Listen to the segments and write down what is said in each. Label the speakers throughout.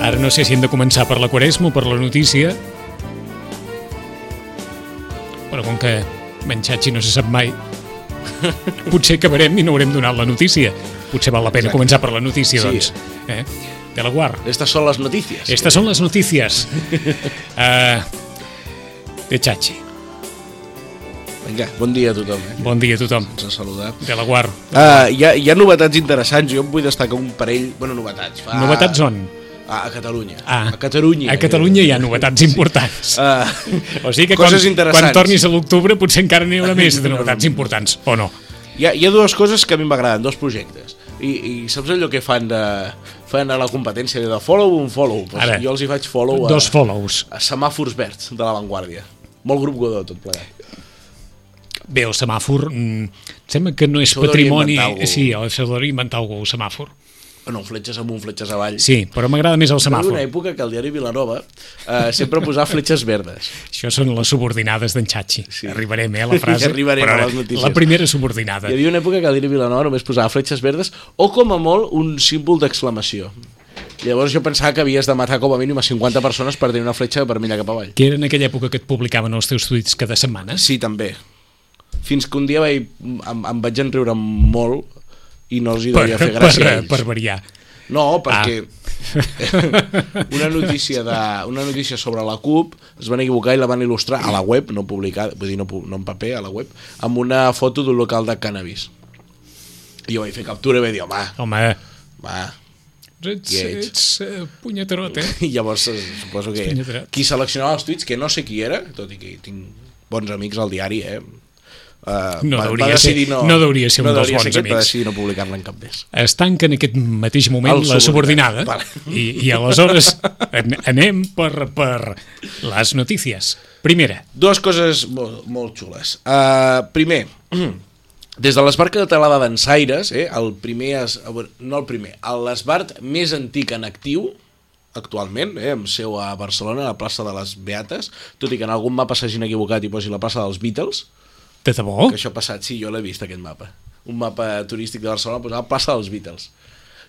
Speaker 1: Ara no sé si hem de començar per la Quaresma o per la notícia. Però com que menxatxi no se sap mai, potser acabarem i no haurem donat la notícia. Potser val la pena
Speaker 2: Exacte.
Speaker 1: començar per la notícia,
Speaker 2: Sí.
Speaker 1: doncs. Eh? De la guard.
Speaker 2: Estas son las noticias.
Speaker 1: Estas son las noticias. Uh, de Chachi.
Speaker 2: Vinga, bon dia a tothom. Eh?
Speaker 1: Bon dia a tothom.
Speaker 2: Ens ha saludat.
Speaker 1: De la guard.
Speaker 2: Uh, hi, ha, hi ha novetats interessants, jo em vull destacar un parell... Bueno, novetats. Fa...
Speaker 1: Novetats on?
Speaker 2: A, a Catalunya.
Speaker 1: Ah.
Speaker 2: A Catalunya.
Speaker 1: A Catalunya hi ha novetats importants.
Speaker 2: Uh,
Speaker 1: O sigui que
Speaker 2: Coses
Speaker 1: quan,
Speaker 2: interessants.
Speaker 1: quan tornis a l'octubre potser encara n'hi haurà més de
Speaker 2: No, no,
Speaker 1: novetats
Speaker 2: no.
Speaker 1: importants, o no?
Speaker 2: hi, ha, hi ha dues coses que a mi m'agraden, dos projectes. I, I saps allò que fan de fan a la competència de follow un follow? Pues
Speaker 1: Ara.
Speaker 2: jo els hi faig follow a,
Speaker 1: Dos follows.
Speaker 2: a semàfors verds de la Vanguardia. Molt grup Godó, tot plegat.
Speaker 1: Bé, el semàfor, mm, em sembla que no és
Speaker 2: Això ho devia
Speaker 1: patrimoni...
Speaker 2: inventar algú.
Speaker 1: Sí, o això ho devia inventar algú, el semàfor.
Speaker 2: No, fletxes amunt, fletxes avall.
Speaker 1: Sí, però m'agrada més el
Speaker 2: Hi havia una
Speaker 1: semàfor.
Speaker 2: època que el diari Vilanova eh, sempre posava fletxes verdes.
Speaker 1: Això són les subordinades d'en Xachi.
Speaker 2: Sí.
Speaker 1: Arribarem, eh, a la frase.
Speaker 2: Ja arribarem
Speaker 1: però
Speaker 2: a les notícies.
Speaker 1: La primera subordinada.
Speaker 2: Hi havia una època que el diari Vilanova només posava fletxes verdes o, com a molt, un símbol d'exclamació. Llavors jo pensava que havies de matar com a mínim a 50 persones per tenir una fletxa vermella cap avall.
Speaker 1: Que era en aquella època que et publicaven els teus tuits cada setmana.
Speaker 2: Sí, també. Fins que un dia vaig, em, em vaig enriure molt i no els hi devia fer gràcia a
Speaker 1: per,
Speaker 2: ells.
Speaker 1: per variar.
Speaker 2: No, perquè ah. una, notícia de, una notícia sobre la CUP es van equivocar i la van il·lustrar a la web, no publicada, vull dir, no, pu- no en paper, a la web, amb una foto d'un local de cannabis. I jo vaig fer captura i vaig dir, home,
Speaker 1: Home,
Speaker 2: va.
Speaker 1: ets,
Speaker 2: Lleig.
Speaker 1: ets eh, punyetarot, eh?
Speaker 2: I llavors eh, suposo que
Speaker 1: Espanya dret.
Speaker 2: qui seleccionava els tuits, que no sé qui era, tot i que tinc bons amics al diari, eh? Uh,
Speaker 1: No deuria ser- no deuria ser un dels bons
Speaker 2: aquest, Va
Speaker 1: amics.
Speaker 2: decidir no publicar-la en cap més.
Speaker 1: es tanca en aquest mateix moment
Speaker 2: El
Speaker 1: la subordinada
Speaker 2: subordinat, vale.
Speaker 1: i, i aleshores an anem per, per les notícies. Primera,
Speaker 2: Dues coses molt, molt xules. Uh, primer, des de l'esbart català de Dansaires, eh, el primer, es, a veure, no el primer, l'esbart més antic en actiu, actualment, eh, amb seu a Barcelona, a la plaça de les Beates, tot i que en algun mapa s'hagin equivocat i posi la plaça dels Beatles,
Speaker 1: de debò,
Speaker 2: que això ha passat, sí, jo l'he vist aquest mapa. Un mapa turístic de Barcelona posava plaça dels Beatles.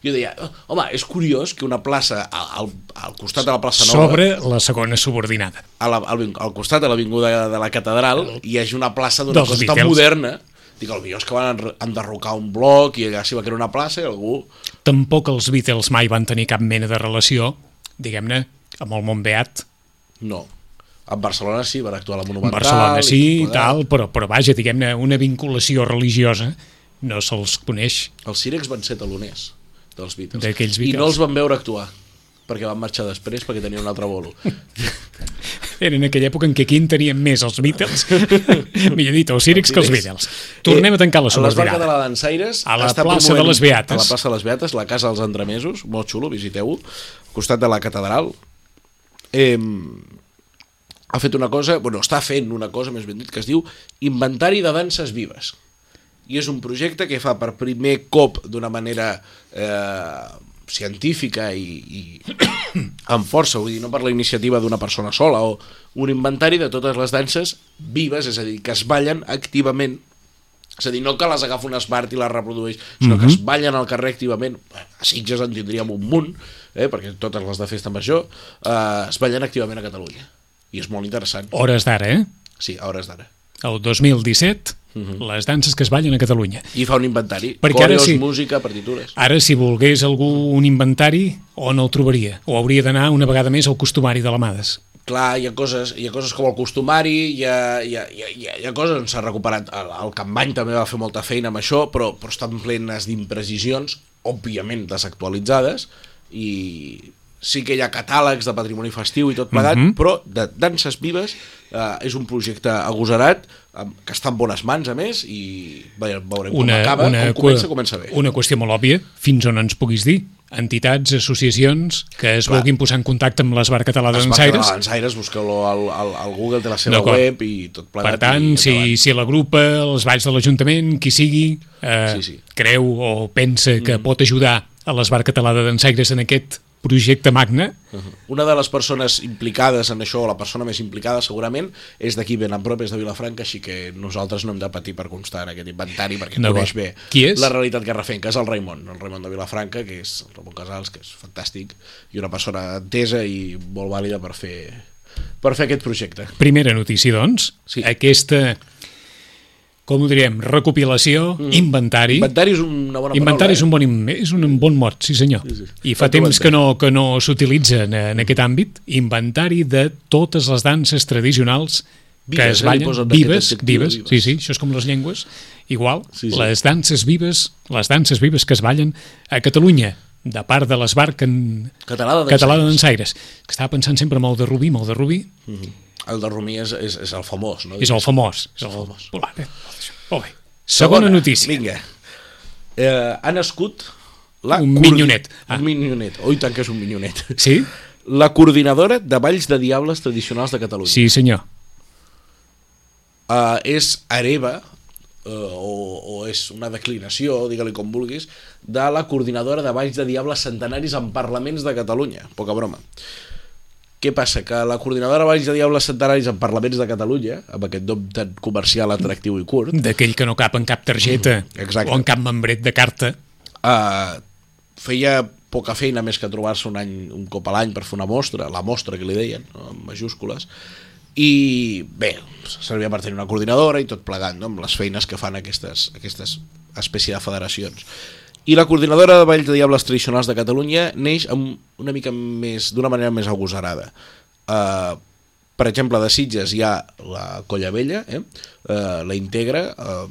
Speaker 2: Jo deia, "Oh, home, és curiós que una plaça al, al, al costat de la plaça Nova
Speaker 1: sobre la segona subordinada.
Speaker 2: a la, al, vin- al costat de l'avinguda de la catedral hi hagi una plaça d'una
Speaker 1: Dels
Speaker 2: cosa tan
Speaker 1: Beatles.
Speaker 2: moderna dic, el millor és que van enr- enderrocar un bloc i allà s'hi va crear una plaça i algú
Speaker 1: Tampoc els Beatles mai van tenir cap mena de relació, diguem-ne, amb el món beat.
Speaker 2: no a Barcelona sí, van actuar a la
Speaker 1: En
Speaker 2: Monumental
Speaker 1: Barcelona sí,
Speaker 2: tot plegat.
Speaker 1: tal, però, però vaja, diguem-ne, una vinculació religiosa no se'ls coneix.
Speaker 2: els Cirex van ser taloners dels Beatles.
Speaker 1: D'aquells
Speaker 2: i
Speaker 1: Beatles.
Speaker 2: no els van veure actuar perquè van marxar després perquè tenien un altre bolo
Speaker 1: Era en aquella època en què aquí en tenien més els Beatles, millor dit, els Sirics que els Beatles. Tornem a tancar la subordinada.
Speaker 2: subordinada. Eh, A l'esbarca de la Dansaires.
Speaker 1: A la
Speaker 2: està
Speaker 1: plaça
Speaker 2: promovent-
Speaker 1: de les Beates.
Speaker 2: A la plaça de les Beates, la casa dels entremesos, molt xulo, visiteu-ho, al costat de la catedral. Eh, ha fet una cosa, bueno, està fent una cosa, més ben dit, que es diu Inventari de Danses Vives. I és un projecte que fa per primer cop d'una manera eh, científica i, i amb força, vull dir, no per la iniciativa d'una persona sola, o un inventari de totes les danses vives, és a dir, que es ballen activament és a dir, no que les agafa un espart i les reprodueix, sinó que
Speaker 1: Mhm.
Speaker 2: es ballen al carrer activament. A Sitges en tindríem un munt, eh, perquè totes les de festa major eh, es ballen activament a Catalunya. I és molt interessant.
Speaker 1: Hores d'ara, eh?
Speaker 2: Sí, a hores d'ara.
Speaker 1: el 2017
Speaker 2: Mhm.
Speaker 1: les danses que es ballen a Catalunya.
Speaker 2: I fa un inventari.
Speaker 1: Perquè ara
Speaker 2: Còreos,
Speaker 1: sí.
Speaker 2: música, partitures.
Speaker 1: Ara, si volgués algú un inventari, on el trobaria? O hauria d'anar una vegada més al costumari de l'Amades?
Speaker 2: Clar, hi ha coses, hi ha coses com el costumari, hi ha, hi ha, hi ha- hi ha, hi ha coses on s'ha recuperat. El, el Campany també va fer molta feina amb això, però, però estan plenes d'imprecisions, òbviament desactualitzades, i sí que hi ha catàlegs de patrimoni festiu i tot plegat,
Speaker 1: Mhm.
Speaker 2: mm -hmm. però de danses vives eh, és un projecte agosarat amb, que està en bones mans, a més, i ve- veurem una, com acaba. Una, com comença,
Speaker 1: cua-
Speaker 2: comença bé.
Speaker 1: Una qüestió molt òbvia, fins on ens puguis dir. Entitats, associacions que es
Speaker 2: Clar.
Speaker 1: vulguin posar en contacte amb l'Esbar Català
Speaker 2: Es va quedar
Speaker 1: d'Ensaires.
Speaker 2: a Dansaires, busqueu-lo al, al, al Google, té la seva
Speaker 1: D'acord.
Speaker 2: web i tot plegat.
Speaker 1: Per tant,
Speaker 2: i
Speaker 1: si,
Speaker 2: endavant.
Speaker 1: si la grupa, els balls de l'Ajuntament, qui sigui, eh,
Speaker 2: Sí, Mm. sí.
Speaker 1: creu o pensa que pot ajudar a l'Esbar Català de Dansaires en aquest projecte magne,
Speaker 2: Una de les persones implicades en això, o la persona més implicada segurament, és d'aquí ben a prop, és de Vilafranca, així que nosaltres no hem de patir per constar en aquest inventari, perquè
Speaker 1: D'acord.
Speaker 2: coneix bé
Speaker 1: Qui és?
Speaker 2: la realitat garrafenca, és el Raimon, el Raimon de Vilafranca, que és el Ramon Casals, que és fantàstic, i una persona entesa i molt vàlida per fer, per fer aquest projecte.
Speaker 1: Primera notícia, doncs,
Speaker 2: Sí.
Speaker 1: aquesta, com ho direm, recopilació, inventari.
Speaker 2: Inventari és Mm. una bona
Speaker 1: Inventari és
Speaker 2: paraula. eh?
Speaker 1: un bon, im- és un bon mot, sí senyor.
Speaker 2: Sí, sí.
Speaker 1: I fa
Speaker 2: Tanto
Speaker 1: temps que no, que no s'utilitza en, en aquest àmbit. Inventari de totes les danses tradicionals que
Speaker 2: Vives,
Speaker 1: es
Speaker 2: eh? Li
Speaker 1: ballen,
Speaker 2: posen aquest
Speaker 1: vives,
Speaker 2: adjectiu,
Speaker 1: vives,
Speaker 2: vives.
Speaker 1: sí, sí, això és com les llengües, igual,
Speaker 2: Sí, sí.
Speaker 1: les danses vives, les danses vives que es ballen a Catalunya, de part de l'esbar que en...
Speaker 2: Eh? Català de
Speaker 1: Català de
Speaker 2: Dansaires.
Speaker 1: Dansaires, que estava pensant sempre en el de Rubí, en el de Rubí,
Speaker 2: El de Romí és, és, és el famós, no?
Speaker 1: és el famós. És el famós.
Speaker 2: famós.
Speaker 1: Molt bé. Segona notícia.
Speaker 2: Vinga. Eh, ha nascut la...
Speaker 1: Un
Speaker 2: coordi-
Speaker 1: minyonet. Ah.
Speaker 2: Un minyonet. Oi, tant que és un minyonet.
Speaker 1: Sí?
Speaker 2: La coordinadora de Valls de Diables Tradicionals de Catalunya.
Speaker 1: Sí, senyor.
Speaker 2: Eh, és hereva, eh, o, o és una declinació, digue-li com vulguis, de la coordinadora de Valls de Diables Centenaris en Parlaments de Catalunya. Poca broma. Què passa? Que la coordinadora de Valls de Diables Centenaris en Parlaments de Catalunya, amb aquest nom tan comercial, atractiu i curt,
Speaker 1: D'aquell que no cap en cap targeta
Speaker 2: Mm, Exacte.
Speaker 1: o en cap membret de carta.
Speaker 2: eh, feia poca feina més que trobar-se un any un cop a l'any per fer una mostra, la mostra que li deien, no? en majúscules, i bé, servia per tenir una coordinadora i tot plegat, no? amb les feines que fan aquestes, aquestes espècie de federacions. I la coordinadora de Valls de Diables Tradicionals de Catalunya neix amb una mica més, d'una manera més agosarada. Eh, per exemple, a Sitges hi ha la Colla Vella, eh? Eh, la integra, eh,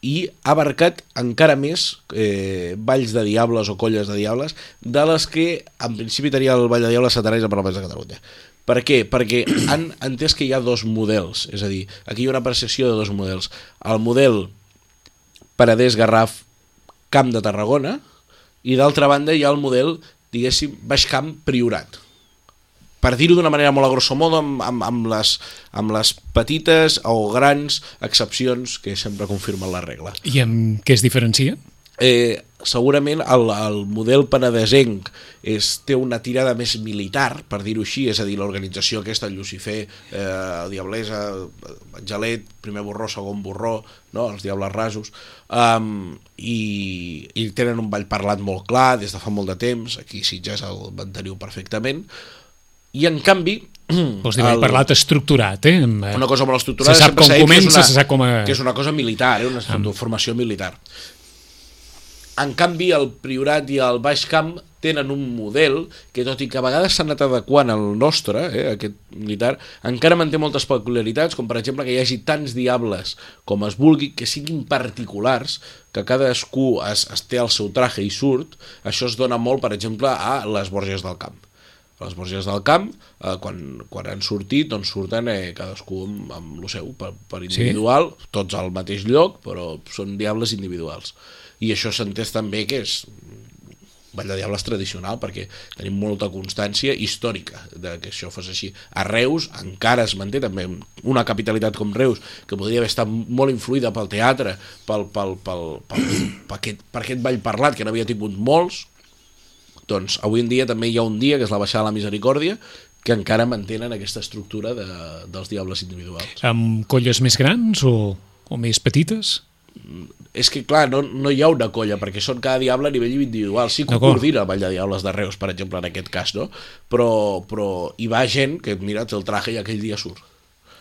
Speaker 2: i ha abarcat encara més eh, valls de diables o colles de diables de les que en principi tenia el Vall de Diables Satanàs a Parlaments de Catalunya. Per què? Perquè han entès que hi ha dos models, és a dir, aquí hi ha una apreciació de dos models. El model Paradès Garraf Camp de Tarragona i d'altra banda hi ha el model, diguéssim, Baix Camp Priorat per dir-ho d'una manera molt a grosso modo, amb, amb, amb, les, amb les petites o grans excepcions que sempre confirmen la regla.
Speaker 1: I amb què es diferencia?
Speaker 2: Eh, segurament el, el model penedesenc és, té una tirada més militar, per dir-ho així, és a dir, l'organització aquesta, el Lucifer, eh, el Diablesa, Angelet, primer borró, segon borró, no? els Diables Rasos, um, i, i tenen un ball parlat molt clar des de fa molt de temps, aquí sí ja el manteniu perfectament, i en canvi...
Speaker 1: Vols dir, el... parlat estructurat, eh? Amb, eh,
Speaker 2: Una cosa molt estructurada.
Speaker 1: Se sap
Speaker 2: sempre
Speaker 1: com
Speaker 2: dit que és
Speaker 1: comença,
Speaker 2: una-
Speaker 1: se sap com a-
Speaker 2: Que és una cosa militar, eh? una estructura- formació militar. En canvi, el Priorat i el Baix Camp tenen un model que, tot i que a vegades s'ha anat adequant al nostre, eh, aquest militar, encara manté moltes peculiaritats, com per exemple que hi hagi tants diables com es vulgui, que siguin particulars, que cadascú es, es té el seu traje i surt. Això es dona molt, per exemple, a les Borges del Camp a les Borges del Camp, eh, quan, quan han sortit, doncs surten eh, cadascú amb, amb el seu, per, per individual, sí. tots al mateix lloc, però són diables individuals. I això s'entès també que és Vall de Diables tradicional, perquè tenim molta constància històrica de que això fos així. A Reus encara es manté també una capitalitat com Reus, que podria haver estat molt influïda pel teatre, pel, pel, pel, pel, per, aquest, per aquest ball parlat, que n'havia tingut molts, doncs avui en dia també hi ha un dia, que és la baixada de la misericòrdia, que encara mantenen aquesta estructura de, dels diables individuals.
Speaker 1: amb colles més grans o, o més petites?
Speaker 2: És que, clar, no, no hi ha una colla, perquè són cada diable a nivell individual. Sí que ho
Speaker 1: D'acord.
Speaker 2: coordina el Vall de Diables de Reus, per exemple, en aquest cas, no? Però, però hi va gent que, mira, té el traje i aquell dia surt.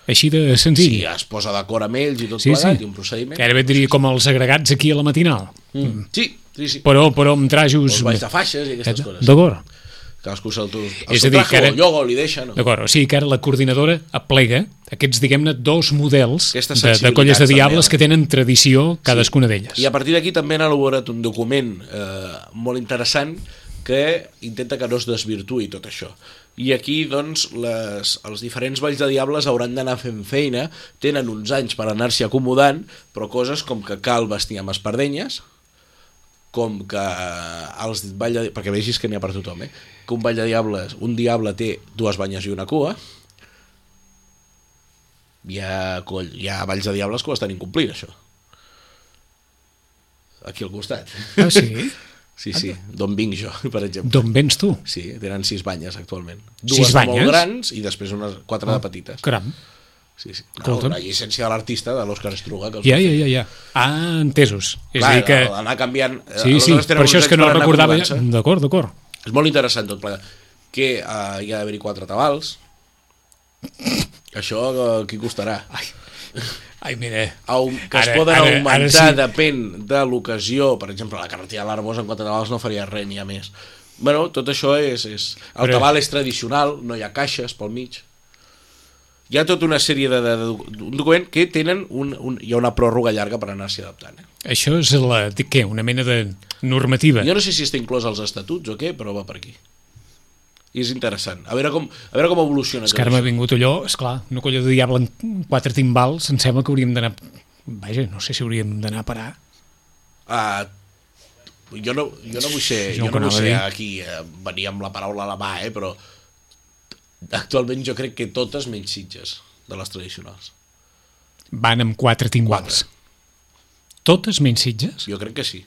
Speaker 1: Així de
Speaker 2: Sí,
Speaker 1: senzill.
Speaker 2: es posa d'acord amb ells i tot
Speaker 1: Sí,
Speaker 2: sí, plegat,
Speaker 1: sí.
Speaker 2: sí. i un procediment.
Speaker 1: Gairebé et diria com els agregats aquí a la matinal.
Speaker 2: Mm. Sí, sí, sí.
Speaker 1: Però, però amb trajos... Eh,
Speaker 2: Els balls Doncs de faixes i aquestes coses.
Speaker 1: D'acord.
Speaker 2: Cadascú se'l tu... El
Speaker 1: És
Speaker 2: seu
Speaker 1: a dir, que
Speaker 2: traje
Speaker 1: ara-
Speaker 2: o el llogo li deixa, no?
Speaker 1: D'acord, o sigui que ara la coordinadora aplega aquests, diguem-ne, dos models
Speaker 2: Aquesta
Speaker 1: de, de colles de
Speaker 2: sensibilitat
Speaker 1: diables
Speaker 2: també,
Speaker 1: que tenen tradició cadascuna d'elles.
Speaker 2: I a partir d'aquí també han elaborat un document eh, molt interessant que intenta que no es desvirtui tot això. I aquí, doncs, les, els diferents Valls de Diables hauran d'anar fent feina, tenen uns anys per anar-s'hi acomodant, però coses com que cal vestir amb espardenyes, com que eh, els Vall de, perquè vegis que n'hi ha per tothom, eh? que un Vall de Diables, un diable té dues banyes i una cua, hi ha, coll, hi ha Valls de Diables que ho estan incomplint, això. Aquí al costat.
Speaker 1: Ah, sí?
Speaker 2: Sí, sí, d'on vinc jo, per exemple.
Speaker 1: D'on vens tu?
Speaker 2: Sí, tenen sis banyes actualment.
Speaker 1: Sis
Speaker 2: Dues
Speaker 1: banyes? Ah.
Speaker 2: molt grans i després unes quatre de petites.
Speaker 1: Caram.
Speaker 2: Sí, sí. No,
Speaker 1: Escolta'm.
Speaker 2: la llicència de l'artista, de l'Òscar Estruga. Que els
Speaker 1: Ja, ja, ja, ja. Ah, entesos. És a
Speaker 2: Clar,
Speaker 1: dir que...
Speaker 2: Anar canviant... eh,
Speaker 1: Sí, sí,
Speaker 2: aleshores tenen
Speaker 1: per això
Speaker 2: uns
Speaker 1: és que
Speaker 2: anys
Speaker 1: no
Speaker 2: per anar
Speaker 1: recordava...
Speaker 2: acomodant-se.
Speaker 1: D'acord, d'acord.
Speaker 2: És molt interessant tot plegat. Que eh, hi ha d'haver-hi quatre tabals. Això eh, qui costarà?
Speaker 1: Ai, mira.
Speaker 2: Au- que es
Speaker 1: Ara-
Speaker 2: poden
Speaker 1: ara- ara
Speaker 2: augmentar
Speaker 1: sí.
Speaker 2: depèn de l'ocasió. Per exemple, la carretera de l'Arbós en quatre tabals no faria res ni a més. Bueno, tot això és... és... El
Speaker 1: Però-
Speaker 2: tabal és tradicional, no hi ha caixes pel mig. Hi ha tota una sèrie de, de, de un document que tenen un, un, hi ha una pròrroga llarga per anar-s'hi adaptant. Eh?
Speaker 1: Això és la... de Què? Una mena de normativa.
Speaker 2: Jo no sé si està inclòs als estatuts o què, però va per aquí. I és interessant. A veure com, a veure com evoluciona.
Speaker 1: És
Speaker 2: tot
Speaker 1: que ara m'ha
Speaker 2: això.
Speaker 1: vingut allò, esclar, una colla de diable en quatre timbals, em sembla que hauríem d'anar... Vaja, no sé si hauríem d'anar a parar.
Speaker 2: Ah, jo, no, jo no vull ser,
Speaker 1: Jo
Speaker 2: jo
Speaker 1: que
Speaker 2: no vull
Speaker 1: anava a
Speaker 2: ser
Speaker 1: dir.
Speaker 2: aquí, eh, venir amb la paraula a la mà, eh, però actualment jo crec que totes menys sitges de les tradicionals.
Speaker 1: Van amb quatre timbals. Totes menys sitges?
Speaker 2: Jo crec que sí.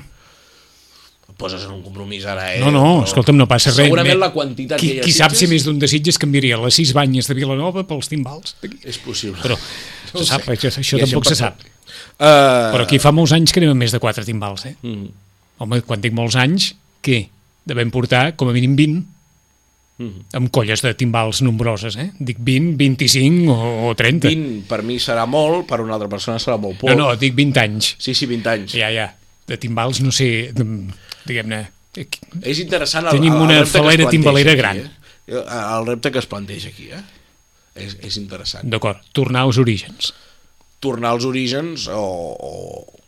Speaker 2: Et poses en un compromís ara, eh?
Speaker 1: No, no,
Speaker 2: però
Speaker 1: escolta'm, no passa res.
Speaker 2: Segurament
Speaker 1: Me-
Speaker 2: la quantitat
Speaker 1: qui,
Speaker 2: que hi ha
Speaker 1: qui sap si
Speaker 2: Sitges
Speaker 1: més d'un de Sitges canviaria les sis banyes de Vilanova pels timbals d'aquí.
Speaker 2: És possible.
Speaker 1: Però se sap, això, això
Speaker 2: I
Speaker 1: tampoc se
Speaker 2: passa.
Speaker 1: sap.
Speaker 2: Eh,
Speaker 1: Però aquí fa molts anys que anem a més de quatre timbals, eh? Mm. Home, quan dic molts anys, què? Devem portar com a mínim 20
Speaker 2: mm.
Speaker 1: amb colles de timbals nombroses, eh? Dic 20, 25 o, o 30.
Speaker 2: 20 per mi serà molt, per una altra persona serà molt poc.
Speaker 1: No, no, dic 20 anys.
Speaker 2: Sí, sí, 20 anys.
Speaker 1: Ja, ja. De timbals, no sé, de- diguem-ne... eh,
Speaker 2: És interessant el,
Speaker 1: Tenim
Speaker 2: el,
Speaker 1: una
Speaker 2: el repte que es
Speaker 1: falera
Speaker 2: planteja
Speaker 1: timbalera
Speaker 2: aquí,
Speaker 1: gran.
Speaker 2: Eh? El, el repte que es planteja aquí, eh? És, és interessant.
Speaker 1: D'acord, tornar als orígens.
Speaker 2: Tornar als orígens o, o,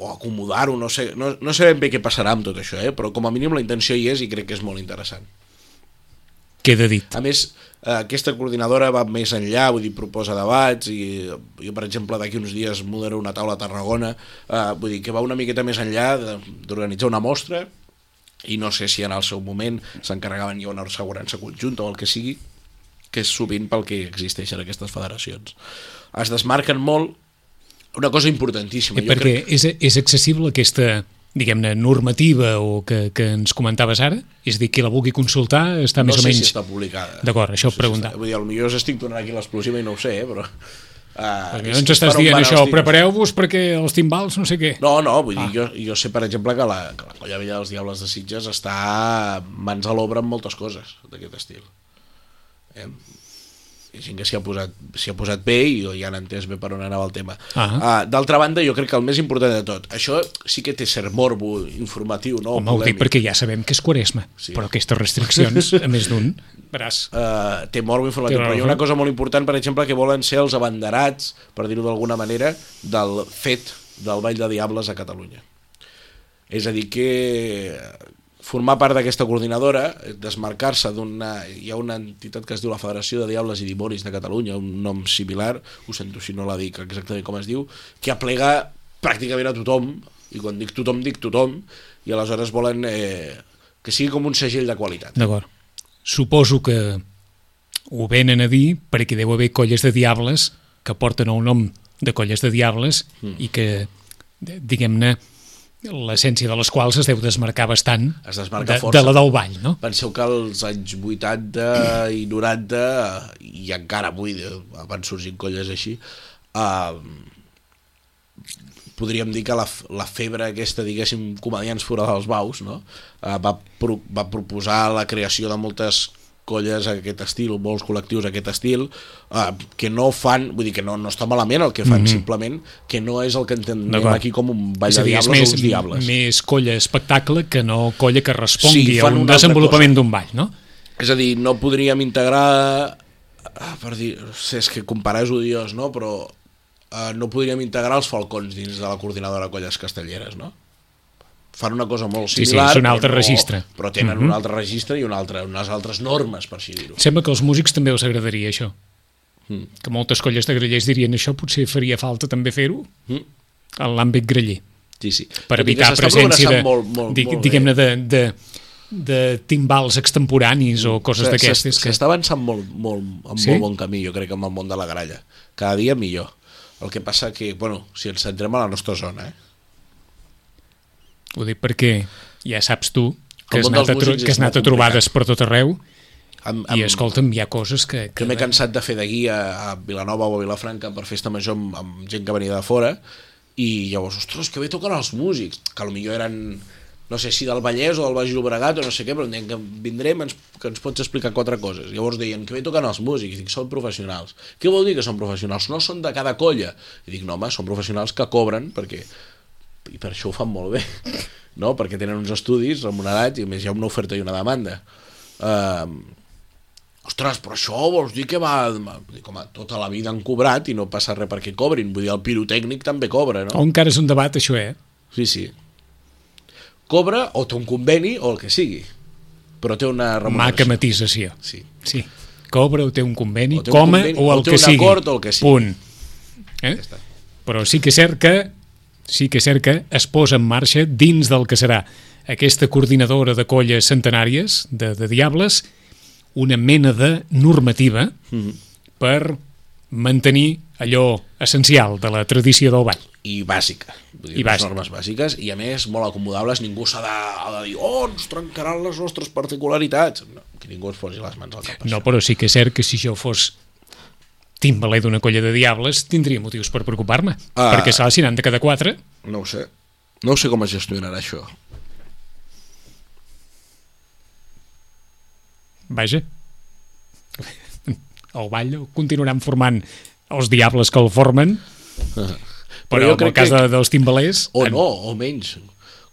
Speaker 2: o acomodar-ho, no, sé, no, no sabem bé què passarà amb tot això, eh? però com a mínim la intenció hi és i crec que és molt interessant.
Speaker 1: Queda dit.
Speaker 2: A més, eh, aquesta coordinadora va més enllà, vull dir, proposa debats i eh, jo, per exemple, d'aquí uns dies moderaré una taula a Tarragona, eh, vull dir, que va una miqueta més enllà de- d'organitzar una mostra i no sé si en el seu moment s'encarregaven ja una assegurança conjunta o el que sigui, que és sovint pel que existeixen aquestes federacions. Es desmarquen molt una cosa importantíssima.
Speaker 1: Eh, perquè crec... és, és accessible aquesta diguem-ne, normativa o que, que ens comentaves ara? És a dir, qui la vulgui consultar està
Speaker 2: no
Speaker 1: més o
Speaker 2: sé
Speaker 1: menys...
Speaker 2: si està publicada.
Speaker 1: D'acord, això
Speaker 2: no sé si
Speaker 1: preguntar.
Speaker 2: està- Vull dir, potser us estic donant aquí l'explosiva i no ho sé, eh, però... Uh,
Speaker 1: Perquè no Eh, ens estàs dient això, prepareu-vos perquè els timbals no sé què.
Speaker 2: No, no, vull ah. dir, jo, jo sé, per exemple, que la, que la Colla Vella dels Diables de Sitges està mans a l'obra amb moltes coses d'aquest estil. Eh? Hi ha gent que s'hi ha, posat, s'hi ha posat bé i hi han entès bé per on anava el tema.
Speaker 1: Ah.
Speaker 2: Ah, D'altra banda, jo crec que el més important de tot, això sí que té cert morbo informatiu, no?
Speaker 1: Home, ho dic
Speaker 2: Polèmic.
Speaker 1: perquè ja sabem que és quaresma,
Speaker 2: Sí.
Speaker 1: sí. però aquestes restriccions, a més d'un, veràs,
Speaker 2: eh, té morbo informatiu,
Speaker 1: Té
Speaker 2: però hi ha
Speaker 1: morbo.
Speaker 2: una cosa molt important, per exemple, que volen ser els abanderats, per dir-ho d'alguna manera, del fet del Ball de Diables a Catalunya. És a dir, que eh, formar part d'aquesta coordinadora, eh, desmarcar-se d'una... Hi ha una entitat que es diu la Federació de Diables i Dimonis de Catalunya, un nom similar, ho sento si no la dic exactament com es diu, que aplega pràcticament a tothom, i quan dic tothom, dic tothom, i aleshores volen eh, que sigui com un segell de qualitat.
Speaker 1: d'acord. Suposo que ho venen a dir perquè deu haver colles de diables que porten el nom de colles de diables
Speaker 2: Hmm.
Speaker 1: mm. i que, de- diguem-ne, l'essència de les quals es deu desmarcar bastant
Speaker 2: Es desmarca
Speaker 1: de, de
Speaker 2: força.
Speaker 1: la del ball, no?
Speaker 2: Penseu que als anys 80 i 90, i encara avui eh, van sorgint colles així, eh, podríem dir que la, f- la febre aquesta, diguéssim, comedians fora dels baus, no? eh, va, pro, va proposar la creació de moltes colles a aquest estil, molts col·lectius a aquest estil, eh, que no fan, vull dir que no, no està malament el que fan, mm -hmm. simplement que no és el que entenem
Speaker 1: Mhm. D'acord.
Speaker 2: aquí com un ball
Speaker 1: És a
Speaker 2: de
Speaker 1: dir, és
Speaker 2: diables
Speaker 1: més,
Speaker 2: o uns diables.
Speaker 1: més colla espectacle que no colla que respongui
Speaker 2: Sí,
Speaker 1: sí,
Speaker 2: fan
Speaker 1: a un
Speaker 2: una altra
Speaker 1: desenvolupament d'un ball, no?
Speaker 2: És a dir, no podríem integrar... Ah, per dir, no sé, és que comparar és odiós, no? Però eh, no podríem integrar els falcons dins de la coordinadora Colles Castelleres, no? fan una cosa molt
Speaker 1: Sí, sí,
Speaker 2: similar.
Speaker 1: és un altre
Speaker 2: però
Speaker 1: registre. Mhm.
Speaker 2: Però tenen un altre registre i un altre, unes altres normes, per així dir-ho.
Speaker 1: Sembla que als músics també els agradaria això.
Speaker 2: Mm.
Speaker 1: Que moltes colles de grellers dirien això potser faria falta també fer-ho
Speaker 2: Mm.
Speaker 1: en l'àmbit greller,
Speaker 2: Sí, sí.
Speaker 1: per
Speaker 2: Tot i que
Speaker 1: evitar
Speaker 2: s'està
Speaker 1: presència de,
Speaker 2: progressant molt, molt,
Speaker 1: di-
Speaker 2: molt bé.
Speaker 1: diguem-ne, de, de, de timbals extemporanis o coses
Speaker 2: S'ha-
Speaker 1: d'aquestes.
Speaker 2: s'est-
Speaker 1: Que...
Speaker 2: Mm. S'està avançant molt, molt, en
Speaker 1: Sí?
Speaker 2: molt bon camí, jo crec, amb el món de la gralla. Cada dia millor. El que passa que, bueno, si ens centrem a la nostra zona, eh?
Speaker 1: Ho dic perquè ja saps tu que
Speaker 2: El
Speaker 1: has
Speaker 2: món dels
Speaker 1: anat a, tro-
Speaker 2: músics
Speaker 1: que
Speaker 2: és
Speaker 1: has anat a
Speaker 2: molt
Speaker 1: trobades per tot arreu
Speaker 2: Amb,
Speaker 1: i, escolta'm, hi ha coses que...
Speaker 2: Jo m'he cansat de fer de guia a Vilanova o a Vilafranca per festa major amb, amb gent que venia de fora i llavors, ostres, que bé toquen els músics que potser eren, no sé si del Vallès o del Baix Llobregat o no sé què, però em deien que vindrem ens, que ens pots explicar quatre coses llavors deien, que bé toquen els músics, i dic, són professionals què vol dir que són professionals? No són de cada colla i dic, no home, són professionals que cobren perquè i per això ho fan molt bé no? perquè tenen uns estudis remunerats i a més hi ha una oferta i una demanda um, ostres, però això vols dir que va... Dic, home, tota la vida han cobrat i no passa res perquè cobrin. Vull dir, el pirotècnic també cobra, no?
Speaker 1: O encara és un debat, això, eh?
Speaker 2: Sí, sí. Cobra o té un conveni o el que sigui. Però té una
Speaker 1: Maca
Speaker 2: remuneració.
Speaker 1: matisació.
Speaker 2: Sí.
Speaker 1: Sí. Cobra o té un conveni,
Speaker 2: O té un
Speaker 1: coma,
Speaker 2: conveni,
Speaker 1: o el
Speaker 2: o té
Speaker 1: que
Speaker 2: un
Speaker 1: sigui.
Speaker 2: acord o el que sigui.
Speaker 1: Punt. Eh? Però sí que és cert que sí que és cert que es posa en marxa dins del que serà aquesta coordinadora de colles centenàries de, de diables una mena de normativa
Speaker 2: Mm-hmm.
Speaker 1: per mantenir allò essencial de la tradició del ball.
Speaker 2: I bàsica. Vull dir,
Speaker 1: I
Speaker 2: I bàsica.
Speaker 1: bàsica.
Speaker 2: normes bàsiques i, a més, molt acomodables. Ningú s'ha de, ha de dir, oh, ens trencaran les nostres particularitats. No, que ningú es posi les mans al cap.
Speaker 1: No, però sí que és cert que si jo fos timbaler d'una colla de diables tindria motius per preocupar-me,
Speaker 2: Ah.
Speaker 1: perquè se la siran de cada quatre
Speaker 2: no ho sé. No ho sé com es gestionarà això.
Speaker 1: Vaja. El ball continuaran formant els diables que el formen, però,
Speaker 2: jo
Speaker 1: en el
Speaker 2: crec
Speaker 1: cas
Speaker 2: que-
Speaker 1: de, dels timbalers...
Speaker 2: O
Speaker 1: en-
Speaker 2: no, o menys.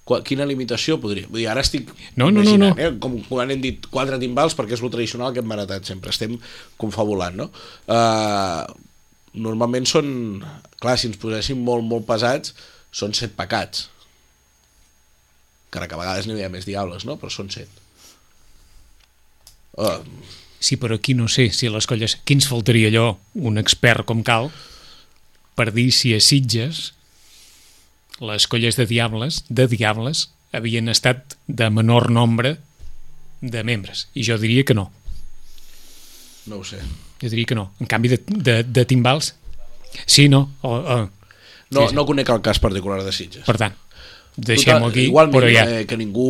Speaker 2: Qua- Quina limitació podria... Vull dir, ara estic
Speaker 1: No, no, no,
Speaker 2: imaginant,
Speaker 1: no.
Speaker 2: Eh? Com quan hem dit quatre timbals, perquè és lo tradicional que hem heretat sempre. Estem confabulant, no? Uh, normalment són... Clar, si ens poséssim molt, molt pesats, són set pecats. Encara que a vegades n'hi havia més diables, no? Però són set. Uh,
Speaker 1: Sí, però aquí no sé si les colles... Qui ens faltaria allò, un expert com cal, per dir si a Sitges les colles de diables, de diables, havien estat de menor nombre de membres. I jo diria que no.
Speaker 2: no ho sé.
Speaker 1: Jo diria que no. En canvi, de, de, de timbals... Sí, no. O, o,
Speaker 2: No,
Speaker 1: Sí, sí.
Speaker 2: no conec el cas particular de Sitges.
Speaker 1: Per tant, deixem-ho
Speaker 2: Total,
Speaker 1: aquí,
Speaker 2: igualment,
Speaker 1: però ja...
Speaker 2: eh, que ningú...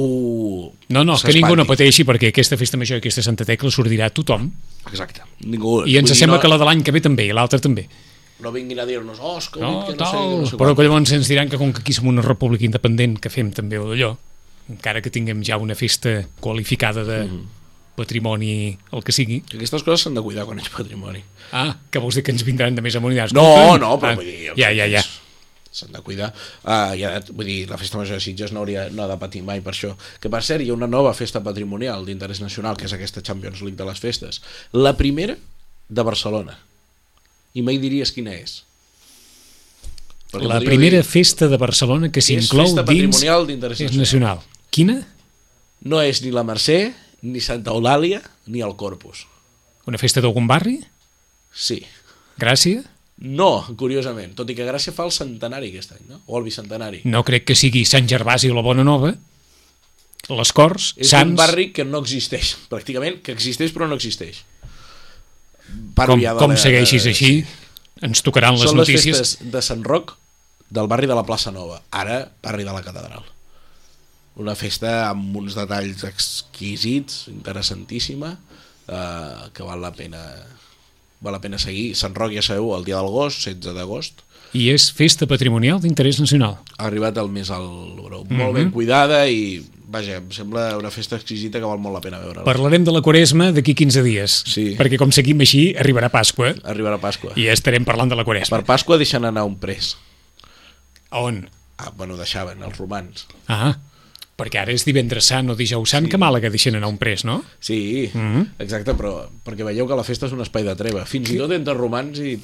Speaker 1: No, no, que
Speaker 2: s'espanti.
Speaker 1: ningú no pateixi perquè aquesta festa major i aquesta Santa Tecla sortirà a tothom
Speaker 2: Exacte. Ningú,
Speaker 1: i ens
Speaker 2: vull dir,
Speaker 1: sembla
Speaker 2: no,
Speaker 1: que la de l'any que ve també i l'altra també.
Speaker 2: no vinguin a dir-nos, oh, és que,
Speaker 1: No,
Speaker 2: no, que no
Speaker 1: tal,
Speaker 2: sé, què, no sé
Speaker 1: però
Speaker 2: quan".
Speaker 1: que llavors ens diran que com que aquí som una república independent que fem també allò, encara que tinguem ja una festa qualificada de
Speaker 2: Mm-hmm.
Speaker 1: patrimoni, el que sigui.
Speaker 2: Aquestes coses s'han de cuidar quan ets patrimoni.
Speaker 1: Ah, que vols dir que ens vindran de més amunt i Ah,
Speaker 2: No, no, però vull dir...
Speaker 1: Ja, ja, ja.
Speaker 2: S'han de cuidar. Uh, ja, vull dir, la Festa Major de Sitges no, hauria, no ha de patir mai per això. Que, per cert, hi ha una nova festa patrimonial d'interès nacional, que és aquesta Champions League de les festes. La primera de Barcelona. I mai diries quina és. Perquè
Speaker 1: La
Speaker 2: podríeu
Speaker 1: primera
Speaker 2: dir,
Speaker 1: festa de Barcelona que
Speaker 2: és
Speaker 1: s'inclou
Speaker 2: festa
Speaker 1: dins
Speaker 2: patrimonial d'interès
Speaker 1: és
Speaker 2: nacional.
Speaker 1: nacional. Quina?
Speaker 2: No és ni la Mercè, ni Santa Eulàlia, ni el Corpus.
Speaker 1: Una festa d'algun barri?
Speaker 2: Sí.
Speaker 1: Gràcia?
Speaker 2: No, curiosament, tot i que Gràcia fa el centenari aquest any, no? O el bicentenari.
Speaker 1: No crec que sigui Sant Gervasi o la Bona Nova, les Corts,
Speaker 2: És
Speaker 1: Sants...
Speaker 2: un barri que no existeix, pràcticament, que existeix però no existeix. Parlo
Speaker 1: com,
Speaker 2: ja de
Speaker 1: com
Speaker 2: la-
Speaker 1: segueixis
Speaker 2: de-
Speaker 1: així, ens tocaran les
Speaker 2: Són les
Speaker 1: notícies.
Speaker 2: festes de Sant Roc del barri de la plaça Nova, ara barri de la Catedral. Una festa amb uns detalls exquisits, interessantíssima, eh, que val la pena val la pena seguir. Sant Roc, ja sabeu, el dia del gos, 16 d'agost,
Speaker 1: I és festa patrimonial d'interès nacional.
Speaker 2: ha arribat el més al l'Euro.
Speaker 1: Mhm.
Speaker 2: Molt ben cuidada i, vaja, em sembla una festa exquisita que val molt la pena veure. Per...
Speaker 1: Parlarem de la Quaresma d'aquí 15 dies,
Speaker 2: Sí.
Speaker 1: perquè com seguim així arribarà Pasqua
Speaker 2: Arribarà Pasqua.
Speaker 1: i ja estarem parlant de la Quaresma.
Speaker 2: Per Pasqua deixen anar un pres.
Speaker 1: A On?
Speaker 2: Ah, bueno, deixaven els romans.
Speaker 1: Ah, perquè ara és divendres sant o dijous sant, sí. que mala que deixen anar un pres, no?
Speaker 2: Sí,
Speaker 1: Mhm.
Speaker 2: exacte, però perquè veieu que la festa és un espai de treva. Fins i tot entre romans i...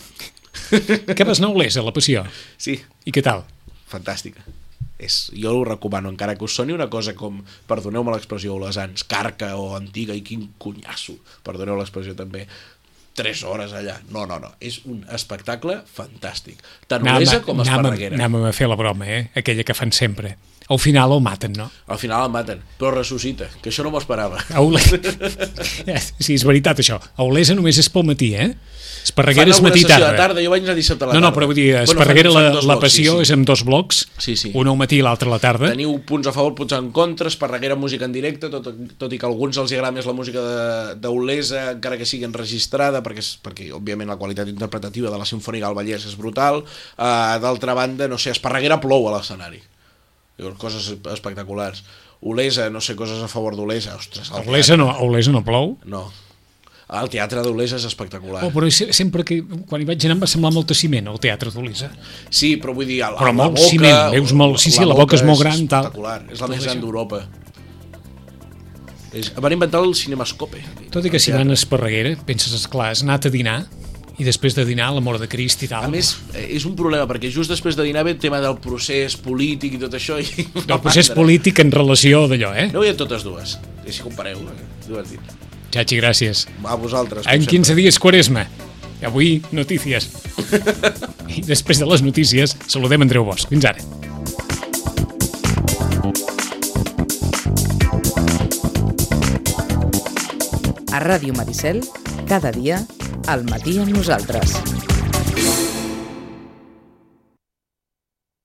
Speaker 1: que vas anar a Olesa, a la passió.
Speaker 2: Sí,
Speaker 1: I què tal?
Speaker 2: fantàstica. És, jo ho recomano, encara que us soni una cosa com, perdoneu-me l'expressió, olesans, carca o antiga i quin cunyasso, perdoneu l'expressió també, 3 hores allà. No, no, no. És un espectacle fantàstic. Tant olesa com esparreguera.
Speaker 1: Anàvem a fer la broma, eh? Aquella que fan sempre. Al final el maten, no?
Speaker 2: Al final el maten, però ressuscita, que això no m'ho esperava.
Speaker 1: A Ole... Eh, sí, és veritat, això. A Olesa només és pel matí, eh? Esparreguera és
Speaker 2: Fan alguna
Speaker 1: matí i
Speaker 2: sessió de
Speaker 1: tarda. eh?
Speaker 2: tarda, jo vaig anar dissabte a la
Speaker 1: No,
Speaker 2: tarda.
Speaker 1: no, però vull dir,
Speaker 2: Bueno,
Speaker 1: Esparreguera,
Speaker 2: fan- fan
Speaker 1: la,
Speaker 2: dos
Speaker 1: la
Speaker 2: blocs, sí,
Speaker 1: passió
Speaker 2: sí.
Speaker 1: és en dos blocs,
Speaker 2: Sí, sí.
Speaker 1: un al matí i l'altre a la tarda.
Speaker 2: Teniu punts a favor, punts en contra, Esparreguera, música en directe, tot, tot i que a alguns els agrada més la música de- d'Olesa, encara que sigui enregistrada, perquè, és, perquè òbviament la qualitat interpretativa de la Sinfònica del Vallès és brutal. Uh, D'altra banda, no sé, Esparreguera plou a l'escenari. Llavors, Coses espectaculars. Olesa, no sé, coses a favor d'Olesa. Ostres,
Speaker 1: A
Speaker 2: el
Speaker 1: Olesa no, a Olesa no plou.
Speaker 2: teatre- No. El teatre d'Olesa és espectacular.
Speaker 1: Oh, però se- sempre que, quan hi vaig anar em va semblar molt de ciment, al teatre d'Olesa.
Speaker 2: Sí, però vull dir... El,
Speaker 1: Però molt ciment, veus molt- sí, sí, la boca és molt gran, tal.
Speaker 2: espectacular, És la
Speaker 1: Tot
Speaker 2: més
Speaker 1: això.
Speaker 2: gran d'Europa. És, van inventar el cinemascope.
Speaker 1: Tot i que si van a Esparreguera, penses, esclar, has anat a dinar, i després de dinar, l'amor de Crist i
Speaker 2: A
Speaker 1: tal.
Speaker 2: més, eh, és un problema, perquè just després de dinar ve el tema del procés polític i tot això. I
Speaker 1: del procés polític en relació d'allò, eh?
Speaker 2: No hi ha totes dues. I si compareu, eh? divertit.
Speaker 1: Chachi, gràcies.
Speaker 2: A vosaltres.
Speaker 1: En
Speaker 2: com sempre.
Speaker 1: 15 dies Quaresma. I avui, notícies. I després de les notícies, saludem Andreu Bosch. Fins ara.
Speaker 3: A Ràdio Maricel, cada dia, al matí amb nosaltres.